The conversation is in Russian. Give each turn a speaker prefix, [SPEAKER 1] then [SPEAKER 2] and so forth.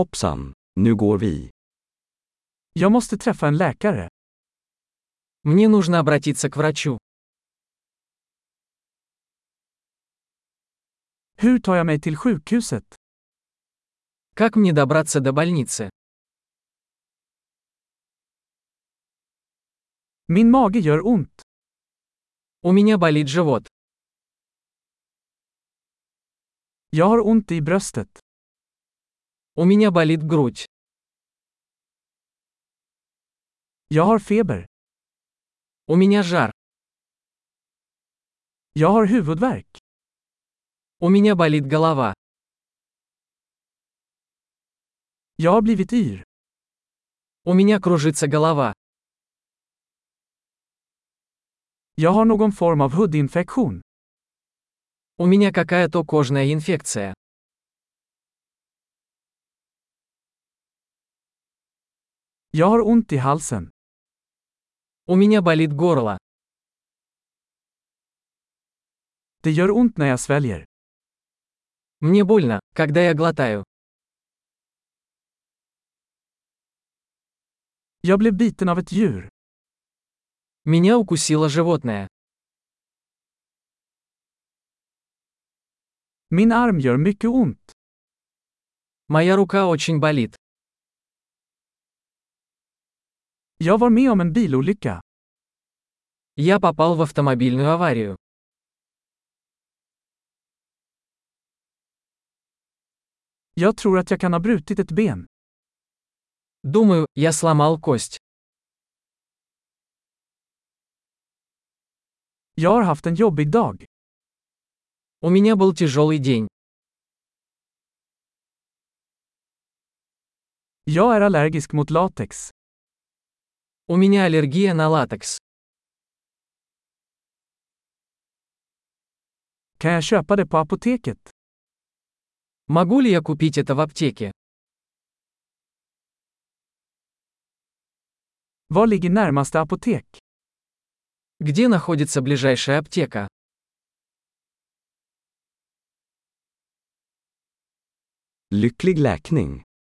[SPEAKER 1] Hoppsan, nu går vi.
[SPEAKER 2] Jag måste träffa en läkare.
[SPEAKER 3] Мне нужно обратиться к врачу.
[SPEAKER 2] Hur tar jag mig till sjukhuset?
[SPEAKER 3] Как мне добраться до больницы?
[SPEAKER 2] Min mage gör ont.
[SPEAKER 3] У меня болит живот.
[SPEAKER 2] Jag har ont i bröstet.
[SPEAKER 3] У меня болит грудь.
[SPEAKER 2] Jag har feber.
[SPEAKER 3] У меня жар.
[SPEAKER 2] Jag har huvudvärk.
[SPEAKER 3] У меня болит голова.
[SPEAKER 2] Jag har blivit yr.
[SPEAKER 3] У меня кружится голова.
[SPEAKER 2] Jag har någon form av hudinfektion.
[SPEAKER 3] У меня какая-то кожная инфекция.
[SPEAKER 2] Jag har ont i halsen.
[SPEAKER 3] У меня болит горло.
[SPEAKER 2] Det gör ont när jag sväljer.
[SPEAKER 3] Мне больно, когда я глотаю.
[SPEAKER 2] Jag blev biten av ett djur.
[SPEAKER 3] Меня укусило животное.
[SPEAKER 2] Min arm gör mycket ont.
[SPEAKER 3] Моя рука очень болит.
[SPEAKER 2] Jag var med om en bilolycka.
[SPEAKER 3] Я попал в автомобильную аварию.
[SPEAKER 2] Jag tror att jag kan ha brutit ett ben.
[SPEAKER 3] Думаю, я сломал кость.
[SPEAKER 2] Jag har haft en jobbig dag.
[SPEAKER 3] У меня был тяжелый день.
[SPEAKER 2] Jag är allergisk mot latex.
[SPEAKER 3] У меня аллергия на латекс.
[SPEAKER 2] Kan jag köpa det på apoteket?
[SPEAKER 3] Могу ли я купить это в аптеке?
[SPEAKER 2] Var ligger närmaste apotek?
[SPEAKER 3] Где находится ближайшая аптека?
[SPEAKER 1] Lycklig läkning!